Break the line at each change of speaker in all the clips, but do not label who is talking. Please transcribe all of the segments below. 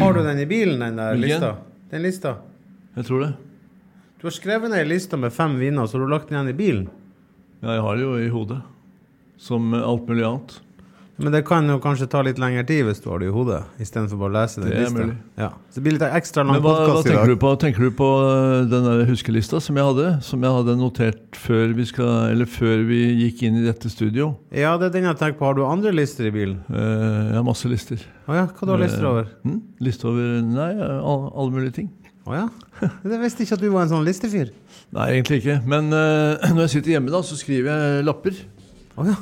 Har du den i bilen, den der
Hvilken?
lista? Den lista?
Jeg tror det.
Du har skrevet ned ei liste med fem viner, så har du lagt den igjen i bilen.
Ja, jeg har det jo i hodet. Som eh, alt mulig annet.
Men det kan jo kanskje ta litt lengre tid hvis du har det i hodet, istedenfor bare å lese den
Det er
lista.
mulig.
Ja. Så det blir litt ekstra lang
Men hva, hva
podkast i
tenker
dag.
du på? Tenker du på eh, den der huskelista som jeg hadde? Som jeg hadde notert før vi, skal, eller før vi gikk inn i dette studio?
Ja, det er den jeg tenker på. Har du andre lister i bilen?
Eh, Jeg har masse lister.
Å ja, hva du har lister over?
Hm? Liste over Nei, alle, alle mulige ting.
Å ja? Jeg visste ikke at du var en sånn listefyr.
Nei, egentlig ikke. Men eh, når jeg sitter hjemme, da, så skriver jeg lapper.
Å ja.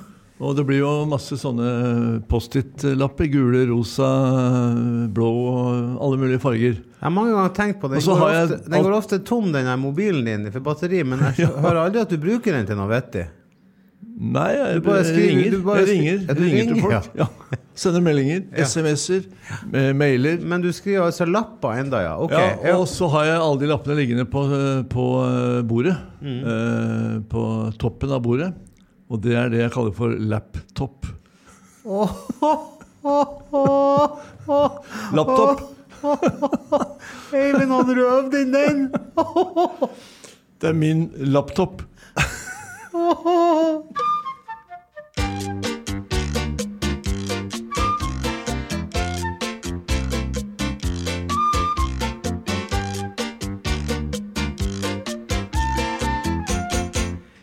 Og det blir jo masse sånne Post-It-lapper. Gule, rosa, blå, alle mulige farger.
Jeg har mange ganger tenkt på det.
Og
Den,
så
går,
har jeg-
ofte, den går ofte tom, den der mobilen din, for batteri, men jeg hører aldri at du bruker den til noe vettig.
Nei, jeg,
Du bare skriver-
ringer.
du bare
jeg
skri-
ringer.
Ja, du
Jeg ringer til
ringer,
folk. Ja. Sender meldinger,
Ja.
SMS-er, eh, mailer.
Men du skriver altså lapper enda, ja. Ok.
Ja,
Ja,
og så har jeg alle de lappene liggende på, eh, på eh, bordet.
Mm.
Eh, på toppen av bordet. Og det er det jeg kaller for laptop. Laptop.
Eivind, hadde du øvd inn den?
Det er min laptop.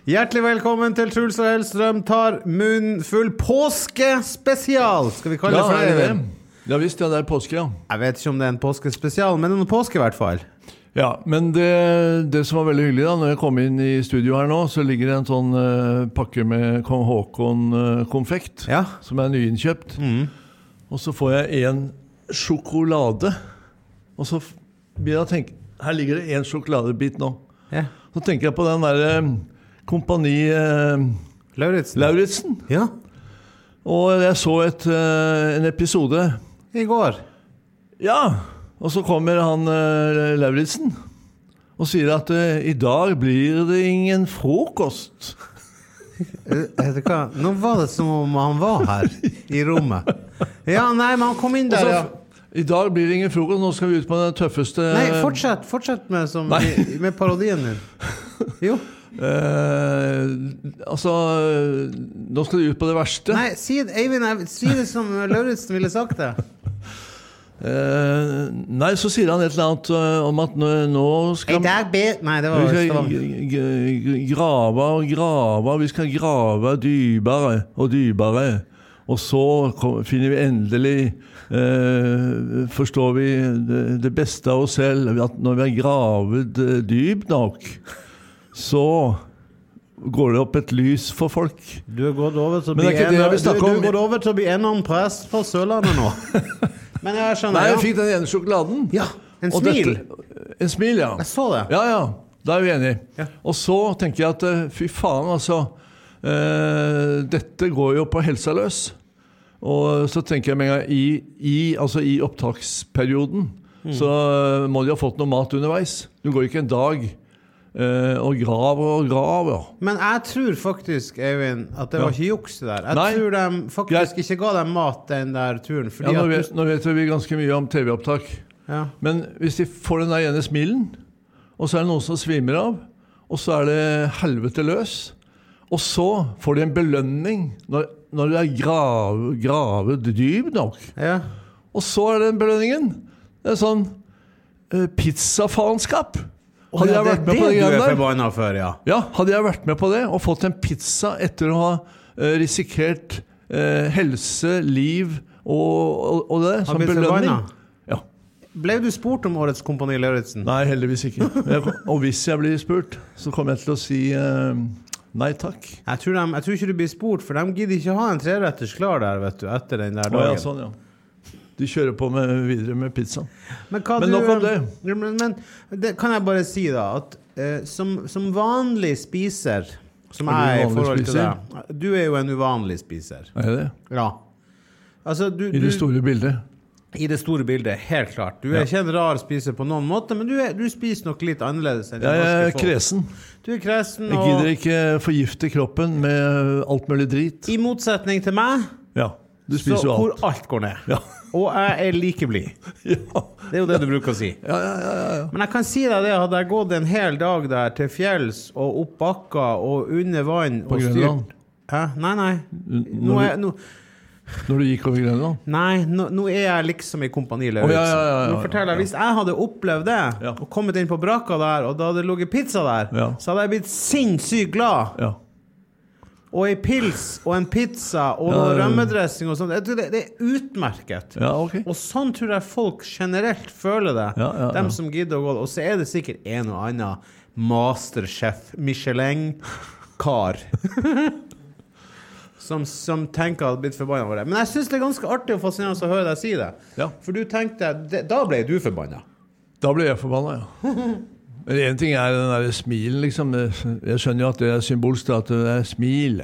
Hjertelig velkommen til Truls og Hellstrøm tar munnfull påskespesial! Skal vi kalle
Ja,
det for
er
det?
det
Eivind?
det? Ja visst, ja, det er påske, ja.
Jeg vet ikke om det er en påskespesial, men det er noen påske i hvert fall.
ja men det, det som var veldig hyggelig, da når jeg kom inn i studio her nå, så ligger det en sånn eh, pakke med kong Haakon-konfekt,
Ja.
som er nyinnkjøpt. Og så får jeg en sjokolade. Og så f- begynner jeg å tenke Her ligger det en sjokoladebit nå.
ja.
Så tenker jeg på den derre Kompani eh,
Lauritzen.
Lauritzen.
Ja.
Og jeg så et, eh, en episode
I går.
Ja, og så kommer han uh, Lauritzen og sier at eh, i dag blir det ingen frokost.
Eh, Vet du hva? Nå var det som om han var her i rommet. Ja, nei, men han kom inn
Og
der,
så-
ja.
I dag blir det ingen frokost, nå skal vi ut på den tøffeste
Nei, fortsett, fortsett med, som,
Eh, Nei.
i- med parodien din. Jo.
eh, altså, eh, nå skal de ut på det verste.
Nei, si det, Eivind, jeg- si det som Lauritzen ville sagt det.
Eh, nei, så sier han et eller annet eh, om at nå, nå
I
skal
dag be... Nei, det var
vi skal
Stavanger.
g- g- g- grave og grave, vi skal grave dypere og dypere. Og så kom, finner vi endelig eh, Forstår vi det, det beste av oss selv. At når vi har gravd eh, dypt nok, så går det opp et lys for folk.
Du er gått over til å
Men det er
bli
ikke det jeg
en-
vil
du-
snakke
du
om.
er gått over til å bli en annen prest på Sørlandet nå. Men jeg skjønner,
Nei,
ja.
jeg fikk den ene sjokoladen.
Ja, en
Og
smil.
dette- en smil, ja.
Jeg så det.
Ja, ja. Da er vi enige.
Ja.
Og så tenker jeg at eh, fy faen, altså. eh, dette går jo på helsa løs. Og så tenker jeg med en gang i, i, altså i opptaksperioden så eh, må de ha fått noe mat underveis. Du går ikke en dag eh, og graver og graver.
Men jeg tror faktisk, Eivind, at det var
Ja.
ikke juks det der. Jeg
Nei.
tror de faktisk ikke ga dem mat den der turen. Fordi
Ja, nå,
at
vet,
du,
nå vet vi ganske mye om TV-opptak.
ja.
Men hvis de får den der ene smilen, og så er det noen som svimer av, og så er det helvete løs, og så får de en belønning når, når det er grav, gravet dypt nok.
Ja.
Og så er den belønningen. Det er sånn eh, pizzafaenskap. Hadde jeg vært med på det
du er
greiene der,
forbanna for, ja.
ja, hadde jeg vært med på det og fått en pizza etter å ha eh, risikert eh, helse, liv og, og, og det som
blitt
belønning
forbanna?
ja.
Ble du spurt om årets Kompani Lauritzen?
Nei, heldigvis ikke. Jeg, og hvis jeg blir spurt, så kommer jeg til å si eh, nei takk.
Jeg tror, dem- jeg tror ikke du blir spurt, for de gidder ikke ha en treretters klar der, vet du, etter den der
Å, ja,
dagen.
sånn, ja. De kjører på med, videre med pizzaen.
Men, hva
Men
du,
nok om det.
eh, Men, men det kan jeg bare si, da, at eh, som, som vanlig spiser Som jeg er i
Er du en vanlig
forhold til deg Du er jo en uvanlig spiser.
Er det?
Ja. Altså, du,
I
du,
det store bildet.
I det store bildet, helt klart. Du er
Ja.
ikke en rar spiser på noen måte, men du, er, du spiser nok litt annerledes enn de
Jeg er
norske folk.
kresen.
Du er kresen,
altså. Jeg
og
gidder ikke forgifte kroppen med alt mulig drit.
i motsetning til meg,
Ja. Du
så,
spiser jo
hvor
alt.
alt går ned.
Ja.
og jeg er like blid.
Ja,
Det er jo det du bruker å si.
ja, ja. ja, ja.
Men jeg kan si deg det, hadde jeg gått en hel dag der til fjells og opp bakker og under vann
På
og
Grønland?
styrt Hæ? Nei, nei. Nå
når
er, nå,
Når du gikk over Grønland?
nei, nå, nå er jeg liksom i Kompani Lauritzen.
Å, ja, ja, ja, ja,
Nå forteller jeg, Hvis jeg hadde opplevd det,
Ja.
og kommet inn på brakka der, og da hadde det ligget pizza der,
Ja.
så hadde jeg blitt sinnssykt glad.
Ja.
Og ei pils og en pizza og
Ja, ja, ja.
rømmedressing og sånt. Jeg tror Det, det er utmerket.
ja, ok.
Og sånn tror jeg folk generelt føler det.
Ja, ja, ja.
Dem som gidder å gå. Og så er det sikkert en og annen masterchef Michelin-kar. som, som tenker hadde blitt forbanna over det. Men jeg syns det er ganske artig og fascinerende å høre deg si det.
Ja.
For du tenkte det, Da ble du forbanna.
Da ble jeg forbanna, ja. Men én ting er den der smilen, liksom. Jeg skjønner jo at det er symbolsk at det er smil.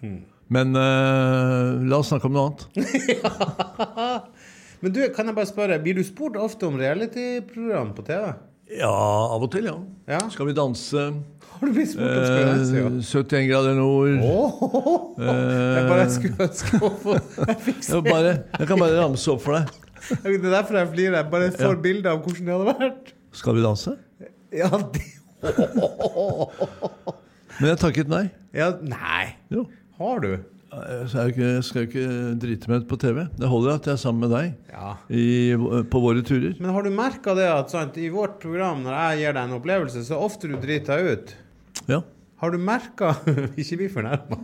Hmm. Men eh, la oss snakke om noe annet.
Men du, kan jeg bare spørre, blir du spurt ofte om reality-program på TV?
Ja, av og til, ja.
Ja.
Skal vi danse?
Har du blitt spurt om skal du
Eh,
danse?
71 grader nord.
Åh, Jeg bare skulle ønske å få Jeg fikk se
Jeg, bare, jeg kan bare ramse opp for deg.
Det er derfor jeg flirer. Jeg bare får bilder av hvordan det hadde vært.
Skal vi danse?
Ja, det...
Men jeg takket nei.
ja, nei.
Jo.
Har du?
Eh, Så er jeg, ikke, jeg skal jo ikke drite meg ut på TV. Det holder at jeg er sammen med deg
Ja.
i, på våre turer.
Men har du merka det at sant, i vårt program, når jeg gir deg en opplevelse, så ofte du driter deg ut?
Ja.
Har du merka Ikke bli fornærma.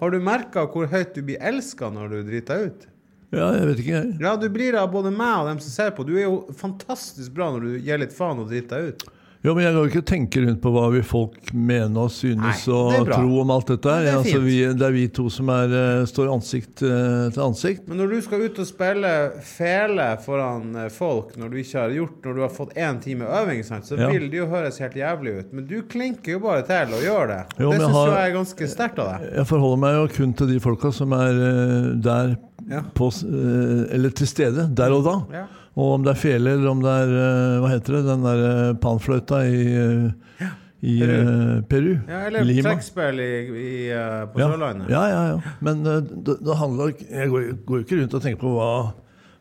Har du merka hvor høyt du blir elska når du driter deg ut?
ja, jeg vet ikke, jeg.
Ja, du blir det av både meg og dem som ser på. Du er jo fantastisk bra når du gir litt faen og driter deg ut.
Jo, men jeg kan jo ikke tenke rundt på hva vi folk mener og synes
Nei, det er
og
bra.
tro om alt dette. her.
Ja, det er
altså,
fint.
vi, det er vi to som er, eh, står ansikt eh, til ansikt.
Men når du skal ut og spille fele foran eh, folk når du ikke har gjort Når du har fått én time øving, sant, så
Ja.
vil det jo høres helt jævlig ut. Men du klinker jo bare til og gjør det.
Jo, men
det
jeg
syns
har-
jeg er ganske sterkt av deg.
Jeg forholder meg jo kun til de folka som er eh, der
Ja.
på, s- eh, eller til stede, der og da.
Ja.
Og om det er fele eller om det er eh, hva heter det, den der eh, panfløyta i, eh, i eh, Peru.
Ja, eller
Lima.
trekkspill i, i, eh, på
Ja.
Sørlandet.
ja, ja, ja. Men eh, det, det handler ikke- Jeg går jo- går jo ikke rundt og tenker på hva,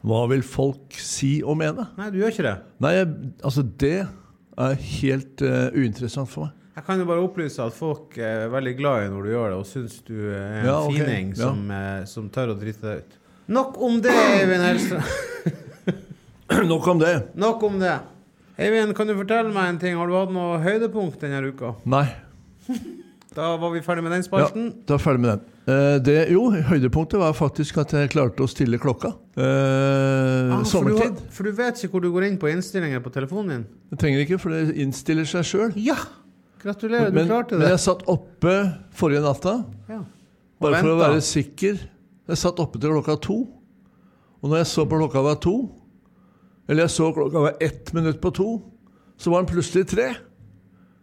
hva vil folk si og mene.
Nei, du gjør ikke det.
Nei, jeg, altså det er helt eh, uinteressant for meg.
Jeg kan jo bare opplyse at folk er veldig glad i når du gjør det, og syns du er en
Ja, ok.
fining
Ja.
som, eh, som tør å drite deg ut. Nok om det, Eivind Hellstrøm.
Nok om det.
Nok om det. Eivind, kan du fortelle meg en ting? Har du hatt noe høydepunkt denne uka?
Nei.
Da var vi ferdig med den
Ja,
spalten.
da er jeg ferdig med den. Eh, det, jo, høydepunktet var faktisk at jeg klarte å stille klokka. Eh,
Ah, for, du har,
sommertid.
for du vet ikke hvor du går inn på innstillinger på telefonen din?
Jeg trenger ikke, for det innstiller seg sjøl.
Ja! Gratulerer, du
Men,
klarte
men
det.
jeg satt oppe forrige natta,
Ja.
bare for å
venta.
være sikker. Jeg satt oppe til klokka to. Og når jeg så på klokka var to, eller jeg så klokka var ett minutt på to, så var den plutselig tre.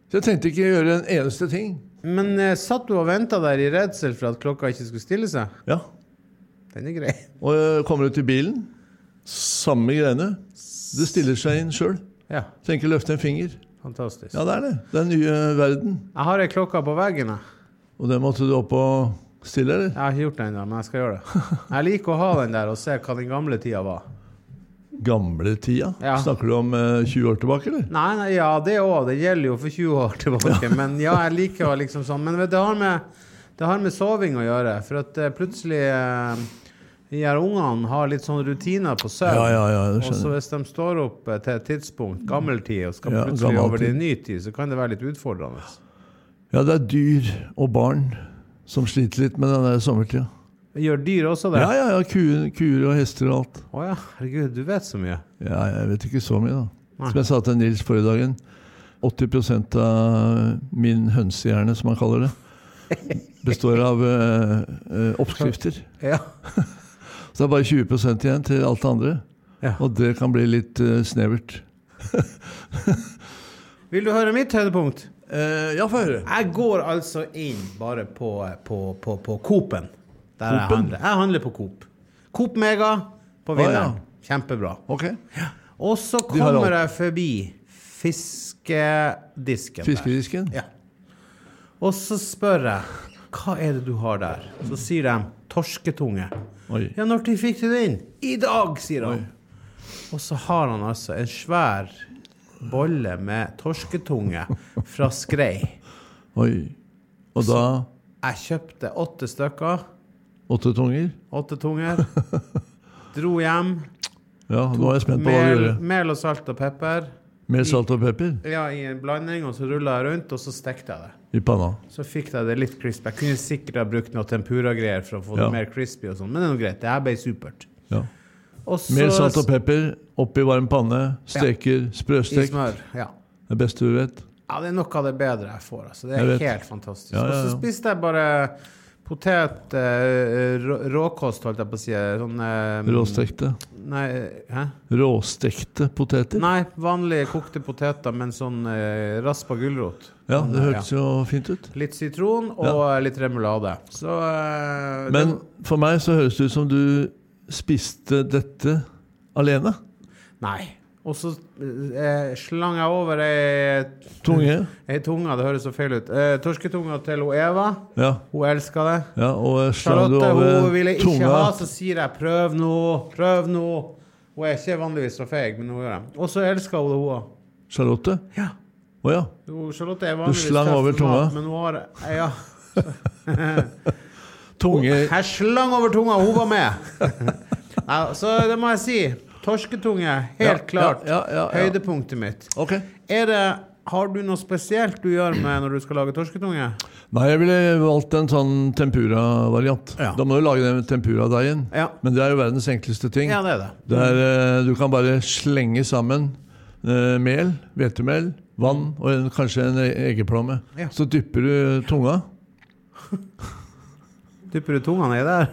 Så jeg tenkte ikke å gjøre en eneste ting.
Men eh, satt du og venta der i redsel for at klokka ikke skulle stille seg?
Ja.
Den er grei.
Og jeg kommer ut i bilen. Samme greiene. Det stiller seg inn sjøl.
Ja,
Trenger ikke løfte en finger.
fantastisk.
Ja, det er det. Det er den nye eh, verden.
Jeg har ei klokke på veggen. jeg.
Og den måtte du opp og stille, eller?
Jeg har ikke gjort det ennå, men jeg skal gjøre det. Jeg liker å ha den der og se hva den gamle tida var.
Gamle tida.
Ja.
Snakker du om eh, 20 år tilbake, eller?
Nei, nei ja, det òg. Det gjelder jo for 20 år tilbake. Men ja, jeg liker å liksom sånn. Men vet du, det har med, det har med soving å gjøre. For at eh, plutselig eh, de her ungene har litt sånn rutiner på søvn.
Ja, ja, ja, det
og så
skjønner jeg.
hvis de står opp eh, til et tidspunkt, gammeltid, og skal
Ja,
plutselig
gammel
over til
tid.
ny tid, så kan det være litt utfordrende.
Ja, det er dyr og barn som sliter litt med den der sommertida.
Gjør dyr også det?
Ja, ja, ja. Kuer, kuer og hester og alt.
Å ja, herregud, du vet så mye.
Ja, jeg vet ikke så mye, da.
Nei.
Som jeg sa til Nils forrige dagen, 80 av min hønsehjerne, som han kaller det, består av eh, eh, oppskrifter.
Ja.
Så det er bare 20 igjen til alt det andre.
Ja.
Og det kan bli litt eh, snevert.
Vil du høre mitt høydepunkt?
Eh, ja, få høre.
Jeg går altså inn bare på, på, på, på Coop-en. Der jeg
Coop-en?
handler. Jeg handler på Coop. Coop Mega på vinneren. Kjempebra.
Ok.
Og så
De har
kommer
alt.
jeg forbi fiskedisken. der.
Fiskedisken?
Ja. Og så spør jeg hva er det du har der? Så sier de Torsketunge.
Oi.
Ja, når de fikk du den? I dag, sier han. Og så har han altså en svær bolle med torsketunge fra Skrei.
Oi. Og da
Jeg kjøpte åtte stykker.
åtte tunger?
Åtte tunger. Dro hjem.
Ja, nå er jeg spent på hva du
Mel,
gjør.
mel og salt og pepper
Med salt og pepper
ja, i en blanding, og så rulla jeg rundt, og så stekte jeg det.
i panna.
Så fikk jeg det litt crisp. Jeg kunne sikkert ha brukt noe tempura-greier for å få
Ja.
det mer crispy, og sånn, men det er noe greit. Det her ble supert.
Ja.
Og så
Mer salt og pepper oppi varm panne. Steker.
i
Sprøstekt.
smør. Ja.
Det beste du vet.
Ja, det er noe av det bedre jeg får. Altså. Det
Jeg
er
vet.
helt fantastisk.
Ja, ja,
Og
ja.
så spiste jeg bare potet eh, rå- Råkost, holdt jeg på å si. Sånn eh,
Råstekte.
Nei, hæ?
Råstekte poteter.
Nei, vanlige kokte poteter, men sånn eh, raspa gulrot.
Ja,
Sånn,
det hørtes jo fint ut.
Litt sitron og eh, litt remulade. Så eh,
Men for meg så høres det ut som du spiste dette alene.
det, Nei. Og så eh, slang jeg over ei,
Tunge.
ei tunga, det høres så feil ut. Eh, torsketunga til hun Eva.
Ja.
Hun elska det.
ja og slang du
Charlotte
over
hun ville ikke ha,
tunga.
så sier jeg 'prøv nå, prøv nå'. Hun er ikke vanligvis så feig, men hun gjør det. Og så elsker hun det, hun òg.
Charlotte?
Ja.
Å ja.
Hun- Charlotte er vanligvis
slang
tøff
over
med mat,
tunga?
Men hun har Ja.
Tunge
Jeg slang over tunga, hun var med! Nei, så det må jeg si. Torsketunge,
Ja,
helt klart.
ja, ja, ja.
Høydepunktet mitt.
Ok.
Er det Har du noe spesielt du gjør med når du skal lage torsketunge?
Nei, jeg ville valgt en sånn tempura-variant.
Ja.
Da må du lage den tempura-deigen.
Ja.
Men det er jo verdens enkleste ting.
Ja, det er det.
Det er, eh, du kan bare slenge sammen eh, mel, hvetemel, vann og en, kanskje en e- eggeplomme.
Ja.
Så dypper du tunga.
Dypper du tunga nedi der?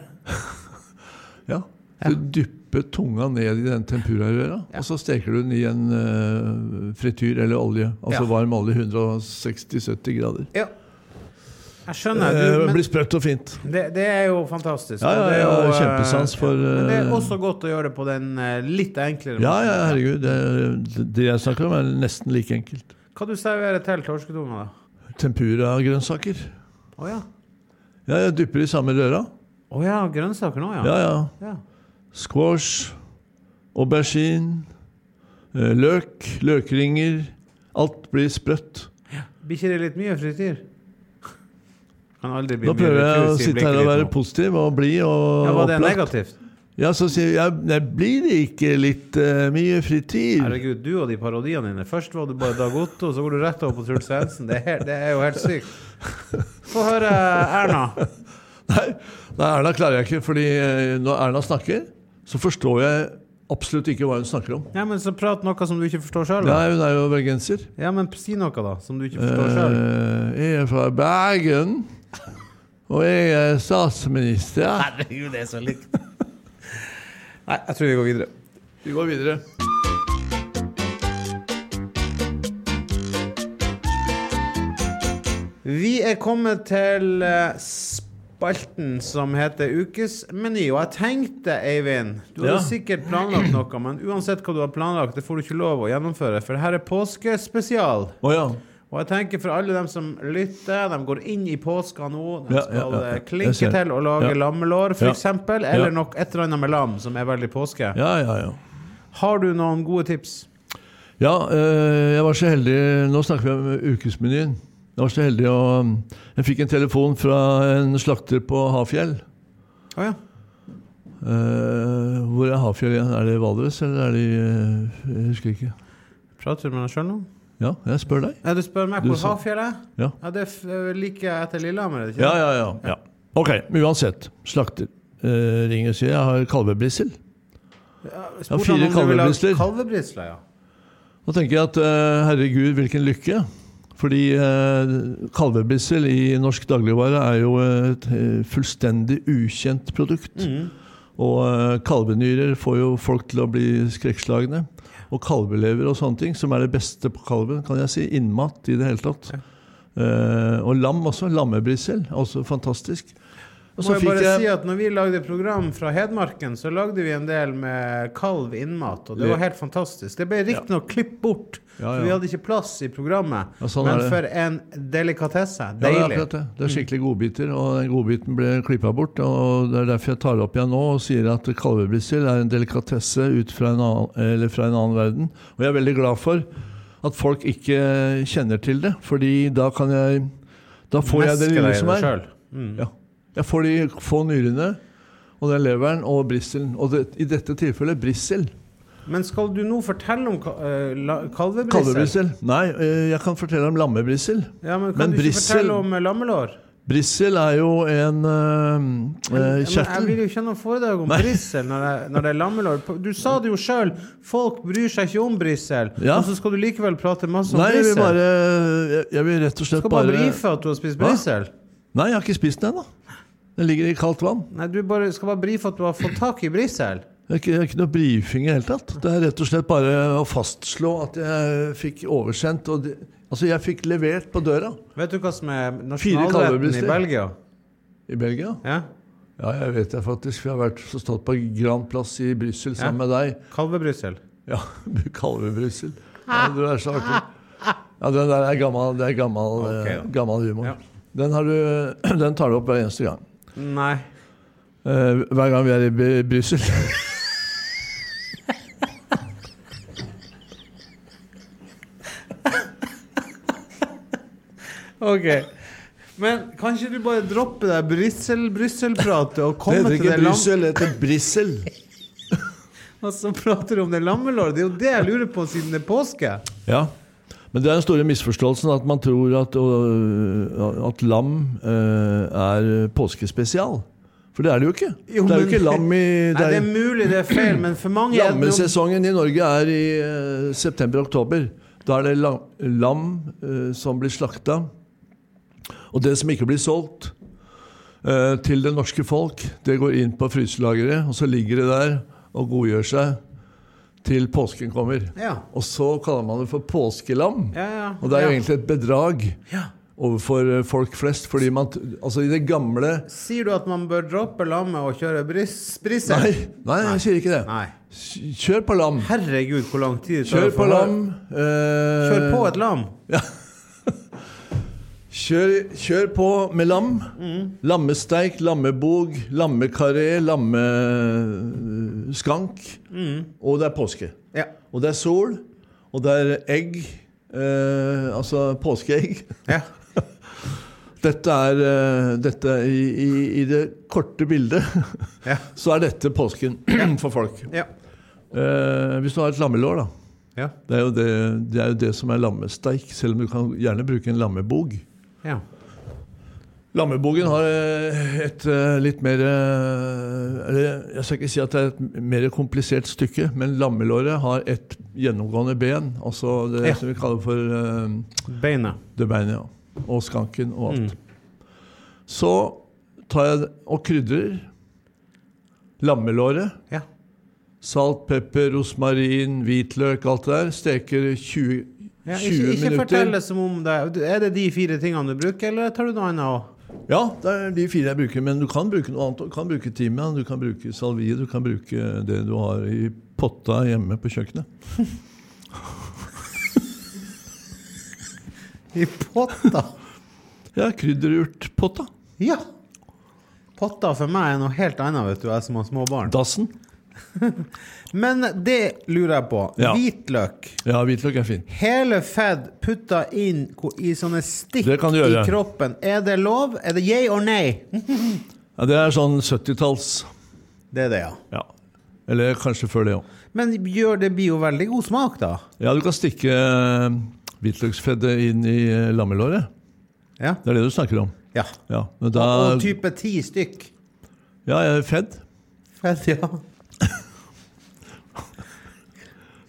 Ja. Du dypper tunga ned i den tempurarøra, og så steker du den i en eh, frityr eller olje. Altså
Ja.
varm olje 160-70 grader.
Ja. Jeg skjønner.
Eh,
Du,
Det
men-
blir sprøtt og fint.
Det, det er jo fantastisk.
Ja, ja,
og det er
jeg har
jo, eh,
kjempesans for,
Men det er
eh,
også godt å gjøre det på den eh, litt enklere
Ja, ja,
måten.
herregud. Det, er- det jeg snakker om, er nesten like enkelt.
Hva du serverer til torsketunga, da?
Tempura-grønnsaker.
Å ja.
Ja, jeg dypper i samme røra.
Å ja, grønnsaker nå, ja.
Ja, ja.
Ja.
squash, aubergine, eh, løk, løkringer. Alt blir sprøtt.
Blir ikke det litt mye frityr? Kan aldri bli
Nå
mye
prøver jeg
frityr,
å
sier
sitte her
blikket
og være
ditt nå.
positiv og blid og
Ja, Var det
opplagt.
negativt?
Ja, så sier jeg Nei, blir det ikke litt eh, mye frityr?
Herregud, du og de parodiene dine. Først var du bare Dag Otto, så går du rett over på Truls Svendsen. Det, er helt- det er jo helt sykt. Få høre Erna.
Nei, nei, Erna klarer jeg ikke, fordi eh, når Erna snakker, så forstår jeg absolutt ikke hva hun snakker om.
Ja, men så prat noe som du ikke forstår sjøl.
Nei, hun er jo bergenser.
Ja, men si noe, da, som du ikke forstår sjøl.
Eh, jeg er fra Bergen, og jeg er statsminister.
Herregud, det er så likt. Nei, jeg tror vi går videre.
Vi går videre.
Vi er kommet til eh, spalten som heter Ukesmeny. Og jeg tenkte, Eivind Du har
Ja.
sikkert planlagt noe, men uansett hva du har planlagt, det får du ikke lov å gjennomføre, for her er påskespesial.
Å ja.
Og jeg tenker for alle dem som lytter, de går inn i påska nå. De
Ja,
skal
ja, ja, ja.
eh,
Jeg
klinke
ser.
til og lage
Ja.
lammelår,
Ja.
f.eks. eksempel Eller
Ja.
nok et eller annet med lam, som er veldig påske.
Ja, ja, ja.
Har du noen gode tips?
Ja, eh, jeg var så heldig Nå snakker vi om ukesmenyen. Jeg var så heldig å Jeg fikk en telefon fra en slakter på Hafjell.
Å ja.
Eh, hvor er Hafjell igjen? Er det i Valdres, eller er det i eh, Jeg husker ikke.
Prater du med deg sjøl nå?
Ja, jeg spør deg.
Ja, du spør meg
Du
hvor
sa-
Hafjell er?
Ja.
Ja, det er f- eh, like etter Lillehammer, er det ikke?
Ja, ja, ja. ja. Ok, men uansett. Slakter eh, ringer og sier jeg har kalvebrisel.
Spurte
fire
han om du ville ha
kalvebrisler.
Kalvebrisler, ja.
Da tenker jeg at eh, herregud, hvilken lykke. Fordi eh, kalvebissel i norsk dagligvare er jo et eh, fullstendig ukjent produkt.
Mm.
Og eh, kalvenyrer får jo folk til å bli skrekkslagne. Og kalvelever og sånne ting, som er det beste på kalven, kan jeg si. Innmat i det hele tatt. Eh, og lam også. Lammebrisel, også altså fantastisk. Og
Må
så
jeg
fikk
bare
jeg
si at når vi lagde program fra Hedmarken, så lagde vi en del med kalv innmat, og det
Ja.
var helt fantastisk. Det ble riktignok nok klippet bort,
Ja, ja.
for vi hadde ikke plass i programmet.
Ja, sånn er
men
det.
for en delikatesse.
Ja, det er
Deilig. Mm.
akkurat det. Det er skikkelig godbiter, og den godbiten ble klippa bort. og Det er derfor jeg tar det opp igjen nå og sier at kalvebrystil er en delikatesse ut fra en, annen, eller fra en annen verden. Og jeg er veldig glad for at folk ikke kjenner til det, fordi da kan jeg Da får jeg det
Meske
lille
deg i
som
det
er.
selv. Mm.
Ja. Jeg får de få nyrene og den leveren og bristelen. Og det, i dette tilfellet bristel.
Men skal du nå fortelle om ka- eh, la- kalvebrisel?
Kalvebristel. Nei, eh, jeg kan fortelle om lammebristel.
Ja, men kan
Men
du ikke
brissel-
fortelle om eh, lammelår?
Brissel er jo en eh,
Men-
eh,
men Jeg
kjertel.
vil jo ikke ha noe foredrag om brissel når, det- når det er lammelår. På- Du sa det jo sjøl, folk bryr seg ikke om brissel.
Ja.
Og så skal du likevel prate masse om
Nei, jeg
brissel.
vil bare jeg- Jeg vil rett og
Du Sånn
slett
skal bare
bare
brife at du har spist
Hva?
brissel.
Nei, jeg har ikke spist den ennå. Den ligger i kaldt vann.
Nei, du bare, skal bare brife at du har fått tak i brissel.
Det er ikke, det er ikke noe brifing i det hele tatt. Det er rett og slett bare å fastslå at jeg fikk oversendt og det, Altså, jeg fikk levert på døra
Vet du hva som er
Fire
nasjonalretten
kalvebrisler.
i Belgia?
i Belgia.
Ja?
Ja, jeg vet det faktisk. for Jeg har vært så stått på Grand Plass i Brussel sammen med deg.
Kalvebryssel.
Ja, Kalvebrussel. Ja, du er så artig. Ja, den der er gammel, det er gammel,
Ok,
eh,
da.
gammel humor.
Ja.
Den, har du, den tar du opp hver eneste gang.
Nei.
Eh, hver gang vi er i Br- Brussel.
Ok. Men kan ikke du bare droppe det Brussel-Brussel-pratet og komme til det lam...
det heter Brissel.
Og så prater du om det lammelåret? Det er jo det jeg lurer på siden det er påske.
Ja. Men det er den store misforståelsen at man tror at, øh, at lam øh, er påskespesial. For det er det jo ikke.
Jo,
det er jo
men-
ikke lam i det
Nei, det
er,
er mulig det er feil, men for mange er det noe-
Lammesesongen i Norge er i eh, september-oktober. Da er det lam, lam eh, som blir slakta, og det som ikke blir solgt eh, til det norske folk, det går inn på fryselageret, og så ligger det der og godgjør seg til påsken kommer.
Ja.
Og så kaller man det for påskelam.
Ja, ja.
Og det er jo
Ja.
egentlig et bedrag
Ja.
overfor eh, folk flest, fordi man t- Altså, i det gamle
Sier du at man bør droppe lammet og kjøre bris- brissel?
Nei, nei, jeg sier ikke det.
Nei.
Kjør på lam.
Herregud, hvor lang tid det tar
Kjør
å
på
få-
lam. eh,
Kjør på et lam.
Kjør, kjør på med lam.
Mm.
Lammesteik, lammebog, lammekaré, lammeskank. eh,
Mm.
Og det er påske.
Ja.
Og det er sol, og det er egg. Eh, altså påskeegg.
ja.
Dette er eh, dette i, i, I det korte bildet
Ja.
så er dette påsken for folk.
Ja.
Eh, hvis du har et lammelår, da.
Ja.
Det er, jo det, det er jo det som er lammesteik, selv om du kan gjerne bruke en lammebog.
ja.
Lammebogen har eh, et eh, litt mer eh, Eller jeg skal ikke si at det er et mer komplisert stykke, men lammelåret har et gjennomgående ben, altså det
Ja.
som vi kaller for eh,
Beinet.
det beinet, ja. Og skanken og
Mm.
alt. Så tar jeg det- og krydrer lammelåret.
Ja.
Salt, pepper, rosmarin, hvitløk, alt det der. Steker 20,
ja. Ikke,
20
ikke
minutter.
fortell det som om det du- Er det de fire tingene du bruker, eller tar du noe annet òg?
Ja, det er de fire jeg bruker, men du kan bruke noe annet. Du kan bruke timian, du kan bruke salvie, du kan bruke det du har i potta hjemme på kjøkkenet.
I potta?
Ja, krydderurtpotta.
Ja. Potta for meg er noe helt annet, vet du, jeg som har små barn.
Dassen.
Men det lurer jeg på.
Ja.
Hvitløk.
Ja, hvitløk er fin.
Hele fedd putta inn ko- i sånne stikk
Det kan du gjøre.
i kroppen. Er det lov? Er det yay or nay? Hm?
Ja, det er sånn 70-talls.
Det er det, ja.
Ja. Eller kanskje før det òg.
Men gjør det blir jo veldig god smak, da.
Ja, du kan stikke eh, hvitløksfedde inn i eh, lammelåret.
Ja.
Det er det du snakker om.
ja.
Ja, men da
Og type ti stykk.
Ja, jeg er fedd.
Fett, ja. Jeg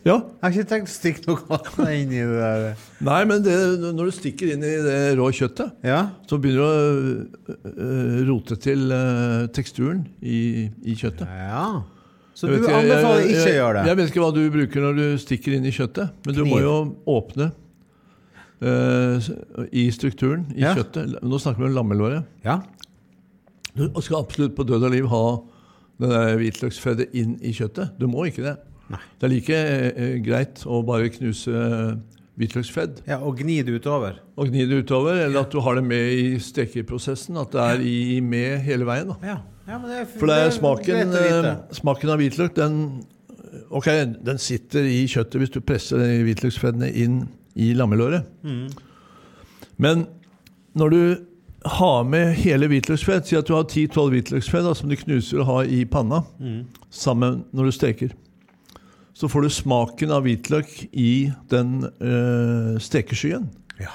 Ja.
har ikke tenkt å stikke noe annet inn i det der.
Nei, men det, når du stikker inn i det rå kjøttet
Ja.
Så begynner du å øh, øh, rote til øh, teksturen i, i kjøttet.
ja. Så
Jeg vet
du
ikke- jeg-
anbefaler
jeg-
ikke å gjøre
Jeg
det?
vet ikke hva du bruker når du stikker inn i kjøttet, men du må
Kniv.
jo åpne øh, s- i strukturen i
Ja.
kjøttet. Nå snakker vi om lammelåret.
Ja.
Du skal absolutt på død og liv ha det der hvitløksfettet inn i kjøttet. Du må ikke det.
Nei.
Det er like eh, greit å bare knuse hvitløksfett
Ja, og gni det utover.
og gni det utover, eller at du har det med i stekeprosessen. At det er i med hele veien. da.
Ja. ja men det er,
For det er
greit
smaken,
å vite.
eh, smaken av hvitløk, den, ok, den sitter i kjøttet hvis du presser de hvitløksfettene inn i lammelåret. Men når du har med hele hvitløksfett, si at du har 10-12 hvitløksfett da, som du knuser og har i panna
Mm.
sammen når du steker, så får du smaken av hvitløk i den eh, stekeskyen.
Ja.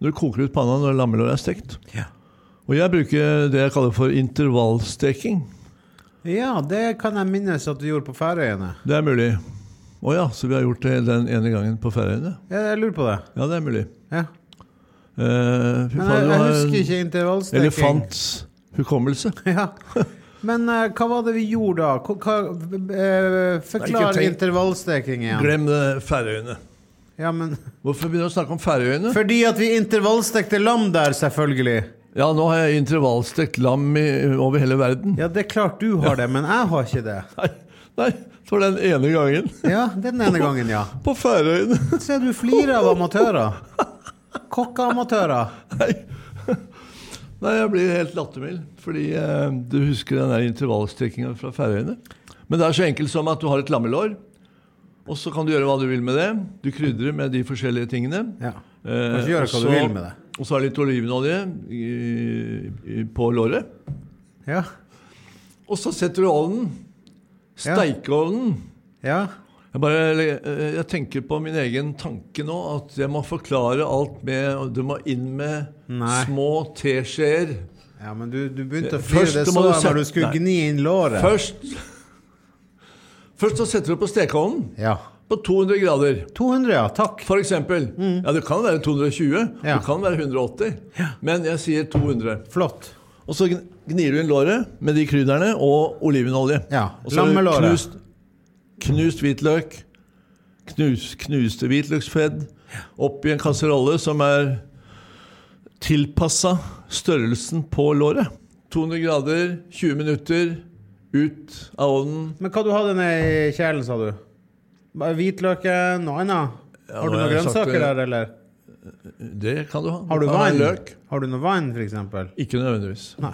Når du koker ut panna når lammelåret er stekt.
Ja.
Og jeg bruker det jeg kaller for intervallsteking.
ja, det kan jeg minnes at du gjorde på Færøyene.
Det er mulig. Å ja, så vi har gjort det den ene gangen på Færøyene?
Ja, jeg lurer på det.
Ja, det er mulig.
Ja.
Eh, fy
Men
faen,
jeg,
du
jeg
har
husker
en
ikke intervallsteking.
elefants hukommelse.
Ja. Men eh, hva var det vi gjorde da? Hva, hva, eh,
Nei, ikke
forklar
tenk-
intervallsteking igjen.
Glem det, Færøyene.
Ja, men...
Hvorfor begynner du å snakke om Færøyene?
Fordi at vi intervallstekte lam der, selvfølgelig.
Ja, nå har jeg intervallstekt lam i, over hele verden.
Ja, det er klart du har det, men jeg har ikke det.
Nei, nei, det var den ene gangen.
Ja, det er den ene gangen, ja.
På Færøyene.
Se, du flirer av amatører. Kokkeamatører.
Nei. Nei, jeg blir helt lattermild. Fordi eh, du husker den der intervallstrekkinga fra Færøyene. Men det er så enkelt som at du har et lammelår, og så kan du gjøre hva du vil med det. Du krydrer med de forskjellige tingene.
Ja.
Eh,
Kan ikke gjøre
og
hva du
så-
vil med det.
Og så er det litt olivenolje i- i- på låret.
Ja.
Og så setter du ovnen.
Ja.
Steikeovnen.
Ja.
Jeg, bare, eh, jeg tenker på min egen tanke nå, at jeg må forklare alt med Du må inn med
Nei.
små teskjeer.
ja, men du, du begynte å
Først
flire det
må
så
du
da når du
sette-
skulle
Nei.
gni inn låret.
Først Først så setter du på stekeovnen
Ja.
på 200 grader.
200, ja. Takk.
For eksempel. Ja, det kan være 220.
Mm. Ja.
Det kan være 180. Men jeg sier 200.
Flott.
Og så gn- gnir du inn låret med de krydderne og olivenolje.
Ja,
Og så har du
lammelåret.
Knust, knust hvitløk. Knus, knuste hvitløksfedd. Opp i en kasserolle som er tilpassa størrelsen på låret. 200 grader, 20 minutter, ut av ovnen.
Men hva du hadde nede i kjelen, sa du? Bare Hvitløken, noe annet?
Ja,
Har du noen
nå har jeg sagt
grønnsaker
det.
der, eller?
Det kan du ha.
Har du
kan ha
vann?
Løk.
Har du noe vann, for eksempel?
Ikke nødvendigvis.
Nei.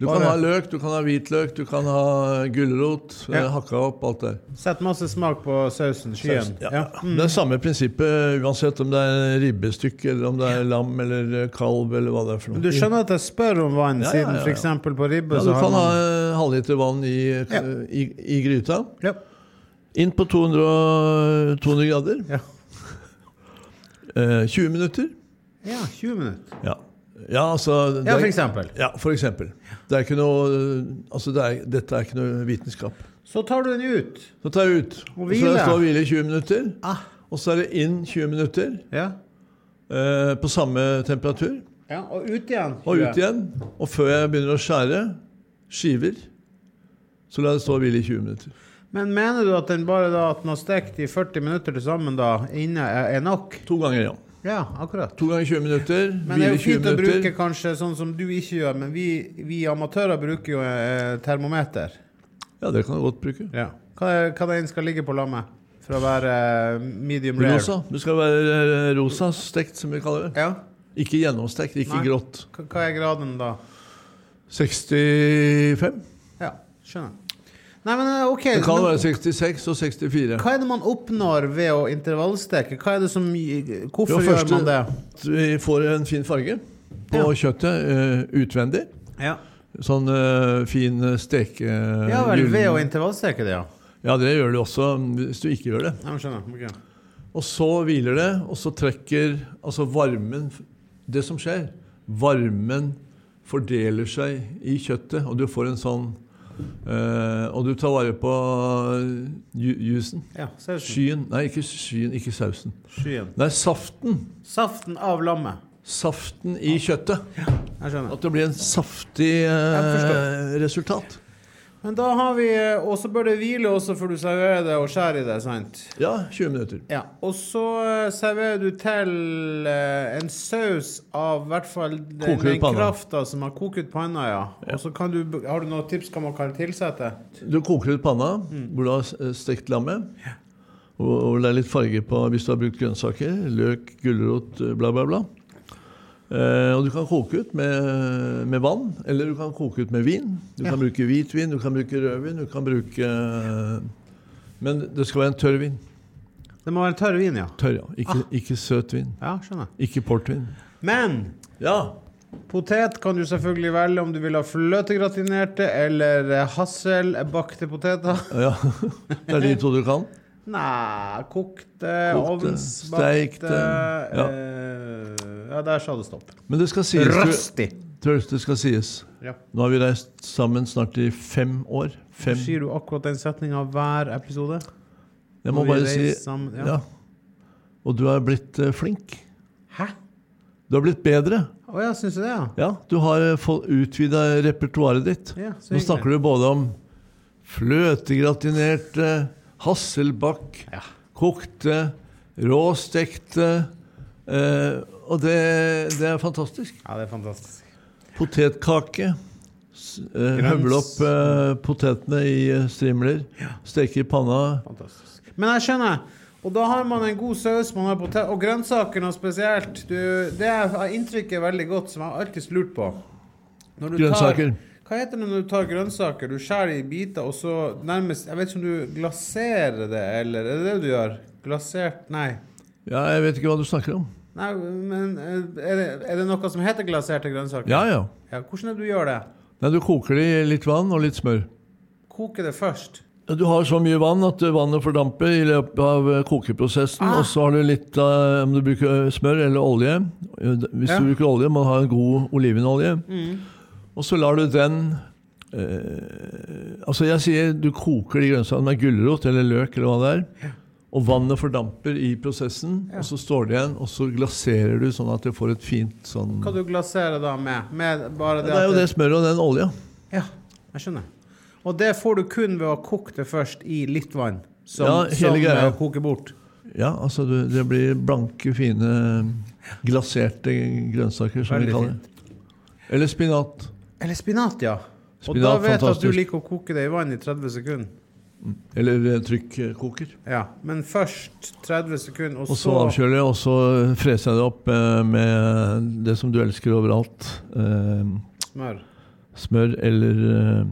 Du
Bare-
kan ha løk, du kan ha hvitløk, du kan ha gulrot,
Ja.
eh, hakka opp, alt det der.
Sett masse smak på sausen. Skyen.
Ja.
altså. Ja.
Det er samme prinsippet uansett om det er ribbestykke, eller om det er lam eller eh, kalv, eller hva det er for noe.
Men du skjønner at jeg spør om vann,
Ja, ja,
siden
ja, ja.
for eksempel på ribbe
ja, du
så har
kan ha
man
eh, halvliter vann i, eh,
Ja.
i, i gryta.
ja.
Inn på 200, og- 200 grader.
Ja.
Eh, 20 minutter.
ja, 20 minutter.
Ja, ja altså det
Ja,
er-
for eksempel.
Ja, for eksempel. Det er ikke noe, eh, altså det er, dette er ikke noe vitenskap.
Så tar du den ut.
Så tar jeg ut.
Og
Og så
hvile. Ah.
der står hvile i 20 minutter. Og så er det inn 20 minutter
Ja.
eh, på samme temperatur.
ja. Og ut igjen.
Og ut igjen. Og før jeg begynner å skjære skiver, så lar jeg det stå og hvile i 20 minutter.
Men mener du at den bare da at den har stekt i 40 minutter til sammen da, inne er er nok?
To ganger, ja.
Ja, akkurat.
To ganger 20 minutter,
Men det er
hvile
jo
i 20
fint å bruke
minutter.
kanskje sånn som du ikke gjør, men vi, vi amatører bruker jo eh, termometer.
Ja, det kan du godt bruke.
Ja. Hva, er- hva den skal ligge på lammet for å være eh, medium rare?
Rosa. Du skal være eh, rosa stekt, som vi kaller det.
Ja.
Ikke gjennomstekt, ikke
Nei.
grått.
Hva- Hva er graden da?
65.
Ja, skjønner. Nei, men eh, ok.
Det kan
men
være 66 og 64.
Hva er det man oppnår ved å intervallsteke? Hva er det som, hvorfor
Jo,
gjør
første-
man det?
Vi får en fin farge på
Ja.
kjøttet eh, utvendig.
Ja,
Sånn eh, fin steke...
ja vel,
gyllen-
ved å intervallsteke det, ja.
Ja, det gjør du også mm, hvis du ikke gjør det.
Ja, men skjønner. ok.
Og så hviler det, og så trekker altså varmen Det som skjer, varmen fordeler seg i kjøttet, og du får en sånn eh, Og du tar vare på eh, ju- juicen.
Ja, sausen.
Skyen Nei, ikke skyen, ikke sausen.
Skyen.
Nei, saften.
Saften av lammet.
Saften i kjøttet.
Jeg skjønner.
At det blir en saftig eh,
forstår.
resultat.
Men da har vi eh, Og så bør det hvile også før du serverer det og skjærer i det, sant?
Ja, 20 minutter.
Ja. Og så eh, serverer du til eh, en saus av i hvert fall den,
Koker ut
den
panna.
krafta som har kokt ut panna, ja. Og så kan du Har du noen tips hva man kan tilsette?
Du koker ut panna
Mm.
hvor du har eh, stekt lammet. Og, og det er litt farge på hvis du har brukt grønnsaker. Løk, gulrot, eh, bla, bla, bla. Eh, og du kan koke ut med, med vann, eller du kan koke ut med vin. Du
Ja.
kan bruke hvitvin, du kan bruke rødvin, du kan bruke eh, Men det skal være en tørr vin.
Det må være tørr vin, ja.
Tørr, ja.
Ah.
Ikke, ikke søt vin.
Ja, skjønner.
Ikke portvin.
Men
Ja.
Potet kan du selvfølgelig velge om du vil ha fløtegratinerte eller eh, hasselbakte poteter.
ja. Det er de to du kan.
Nei, kokte,
Kokte,
ovnsbakte
steikte,
ja.
ja.
ja, der sa det stopp.
Men det skal sies du-
Røstig!
Tørst, det skal sies.
Ja.
Nå har vi reist sammen snart i fem år. Fem
Sier du akkurat den setninga hver episode?
Jeg
Når
må
vi
bare si
reiser sammen- ja.
ja. Og du er blitt eh, flink.
Hæ?
Du har blitt bedre.
Å ja, syns du det, ja?
Ja, du har eh, fått utvida repertoaret ditt.
Ja, så
Nå
hyggelig.
snakker du både om fløtegratinerte, hasselbakk,
Ja.
kokte, råstekte eh, Og det, det er fantastisk.
Ja, det er fantastisk.
Potetkake. S- Eh,
Grønns.
høvle opp eh, potetene i eh, strimler. Steke i panna.
fantastisk. Men jeg skjønner. Og da har man en god saus, man har potet, og grønnsaker noe spesielt. Du, det er inntrykket er veldig godt, som jeg alltid lurt på. Når du
Grønnsaker.
Tar, hva heter det når du tar grønnsaker? Du skjærer det i biter, og så nærmest Jeg vet ikke om du glaserer det, eller Er det det du gjør? Glasert Nei.
Ja, jeg vet ikke hva du snakker om.
Nei, men eh, er det, er det noe som heter glaserte grønnsaker?
Ja, ja.
ja. Hvordan er det du gjør det?
Nei, du koker det i litt vann og litt smør.
Koker det først?
Du har så mye vann at eh, vannet fordamper i løpet av eh, kokeprosessen.
Ah.
Og så har du litt eh, om du bruker eh, smør eller olje. Eh, d- Hvis
Ja.
du bruker olje, må du ha en god olivenolje. Og så lar du den eh, Altså, jeg sier du koker de grønnsakene med gulrot eller løk eller hva det er. Og vannet fordamper i prosessen, og så står det igjen, og så glaserer du sånn at det får et fint sånn
Hva du glaserer da med? Med bare det
Det er
at
jo det smøret og den olja.
Ja, jeg skjønner. Og det får du kun ved å koke det først i litt vann. Som,
Ja,
som
hele greia.
eh, koker bort.
Ja, altså du, det blir blanke, fine, glaserte grønnsaker, som
Veldig
vi kaller det. Eller spinat.
Eller spinat, ja. Og
Spinat,
da vet jeg at du
fantastisk.
liker å koke det i vann i 30 sekunder.
Eller eh, trykkoker.
Ja, Men først 30 sekunder, og,
Og så
så
avkjøler jeg, og så freser jeg det opp eh, med det som du elsker overalt. Eh,
smør.
smør eller eh,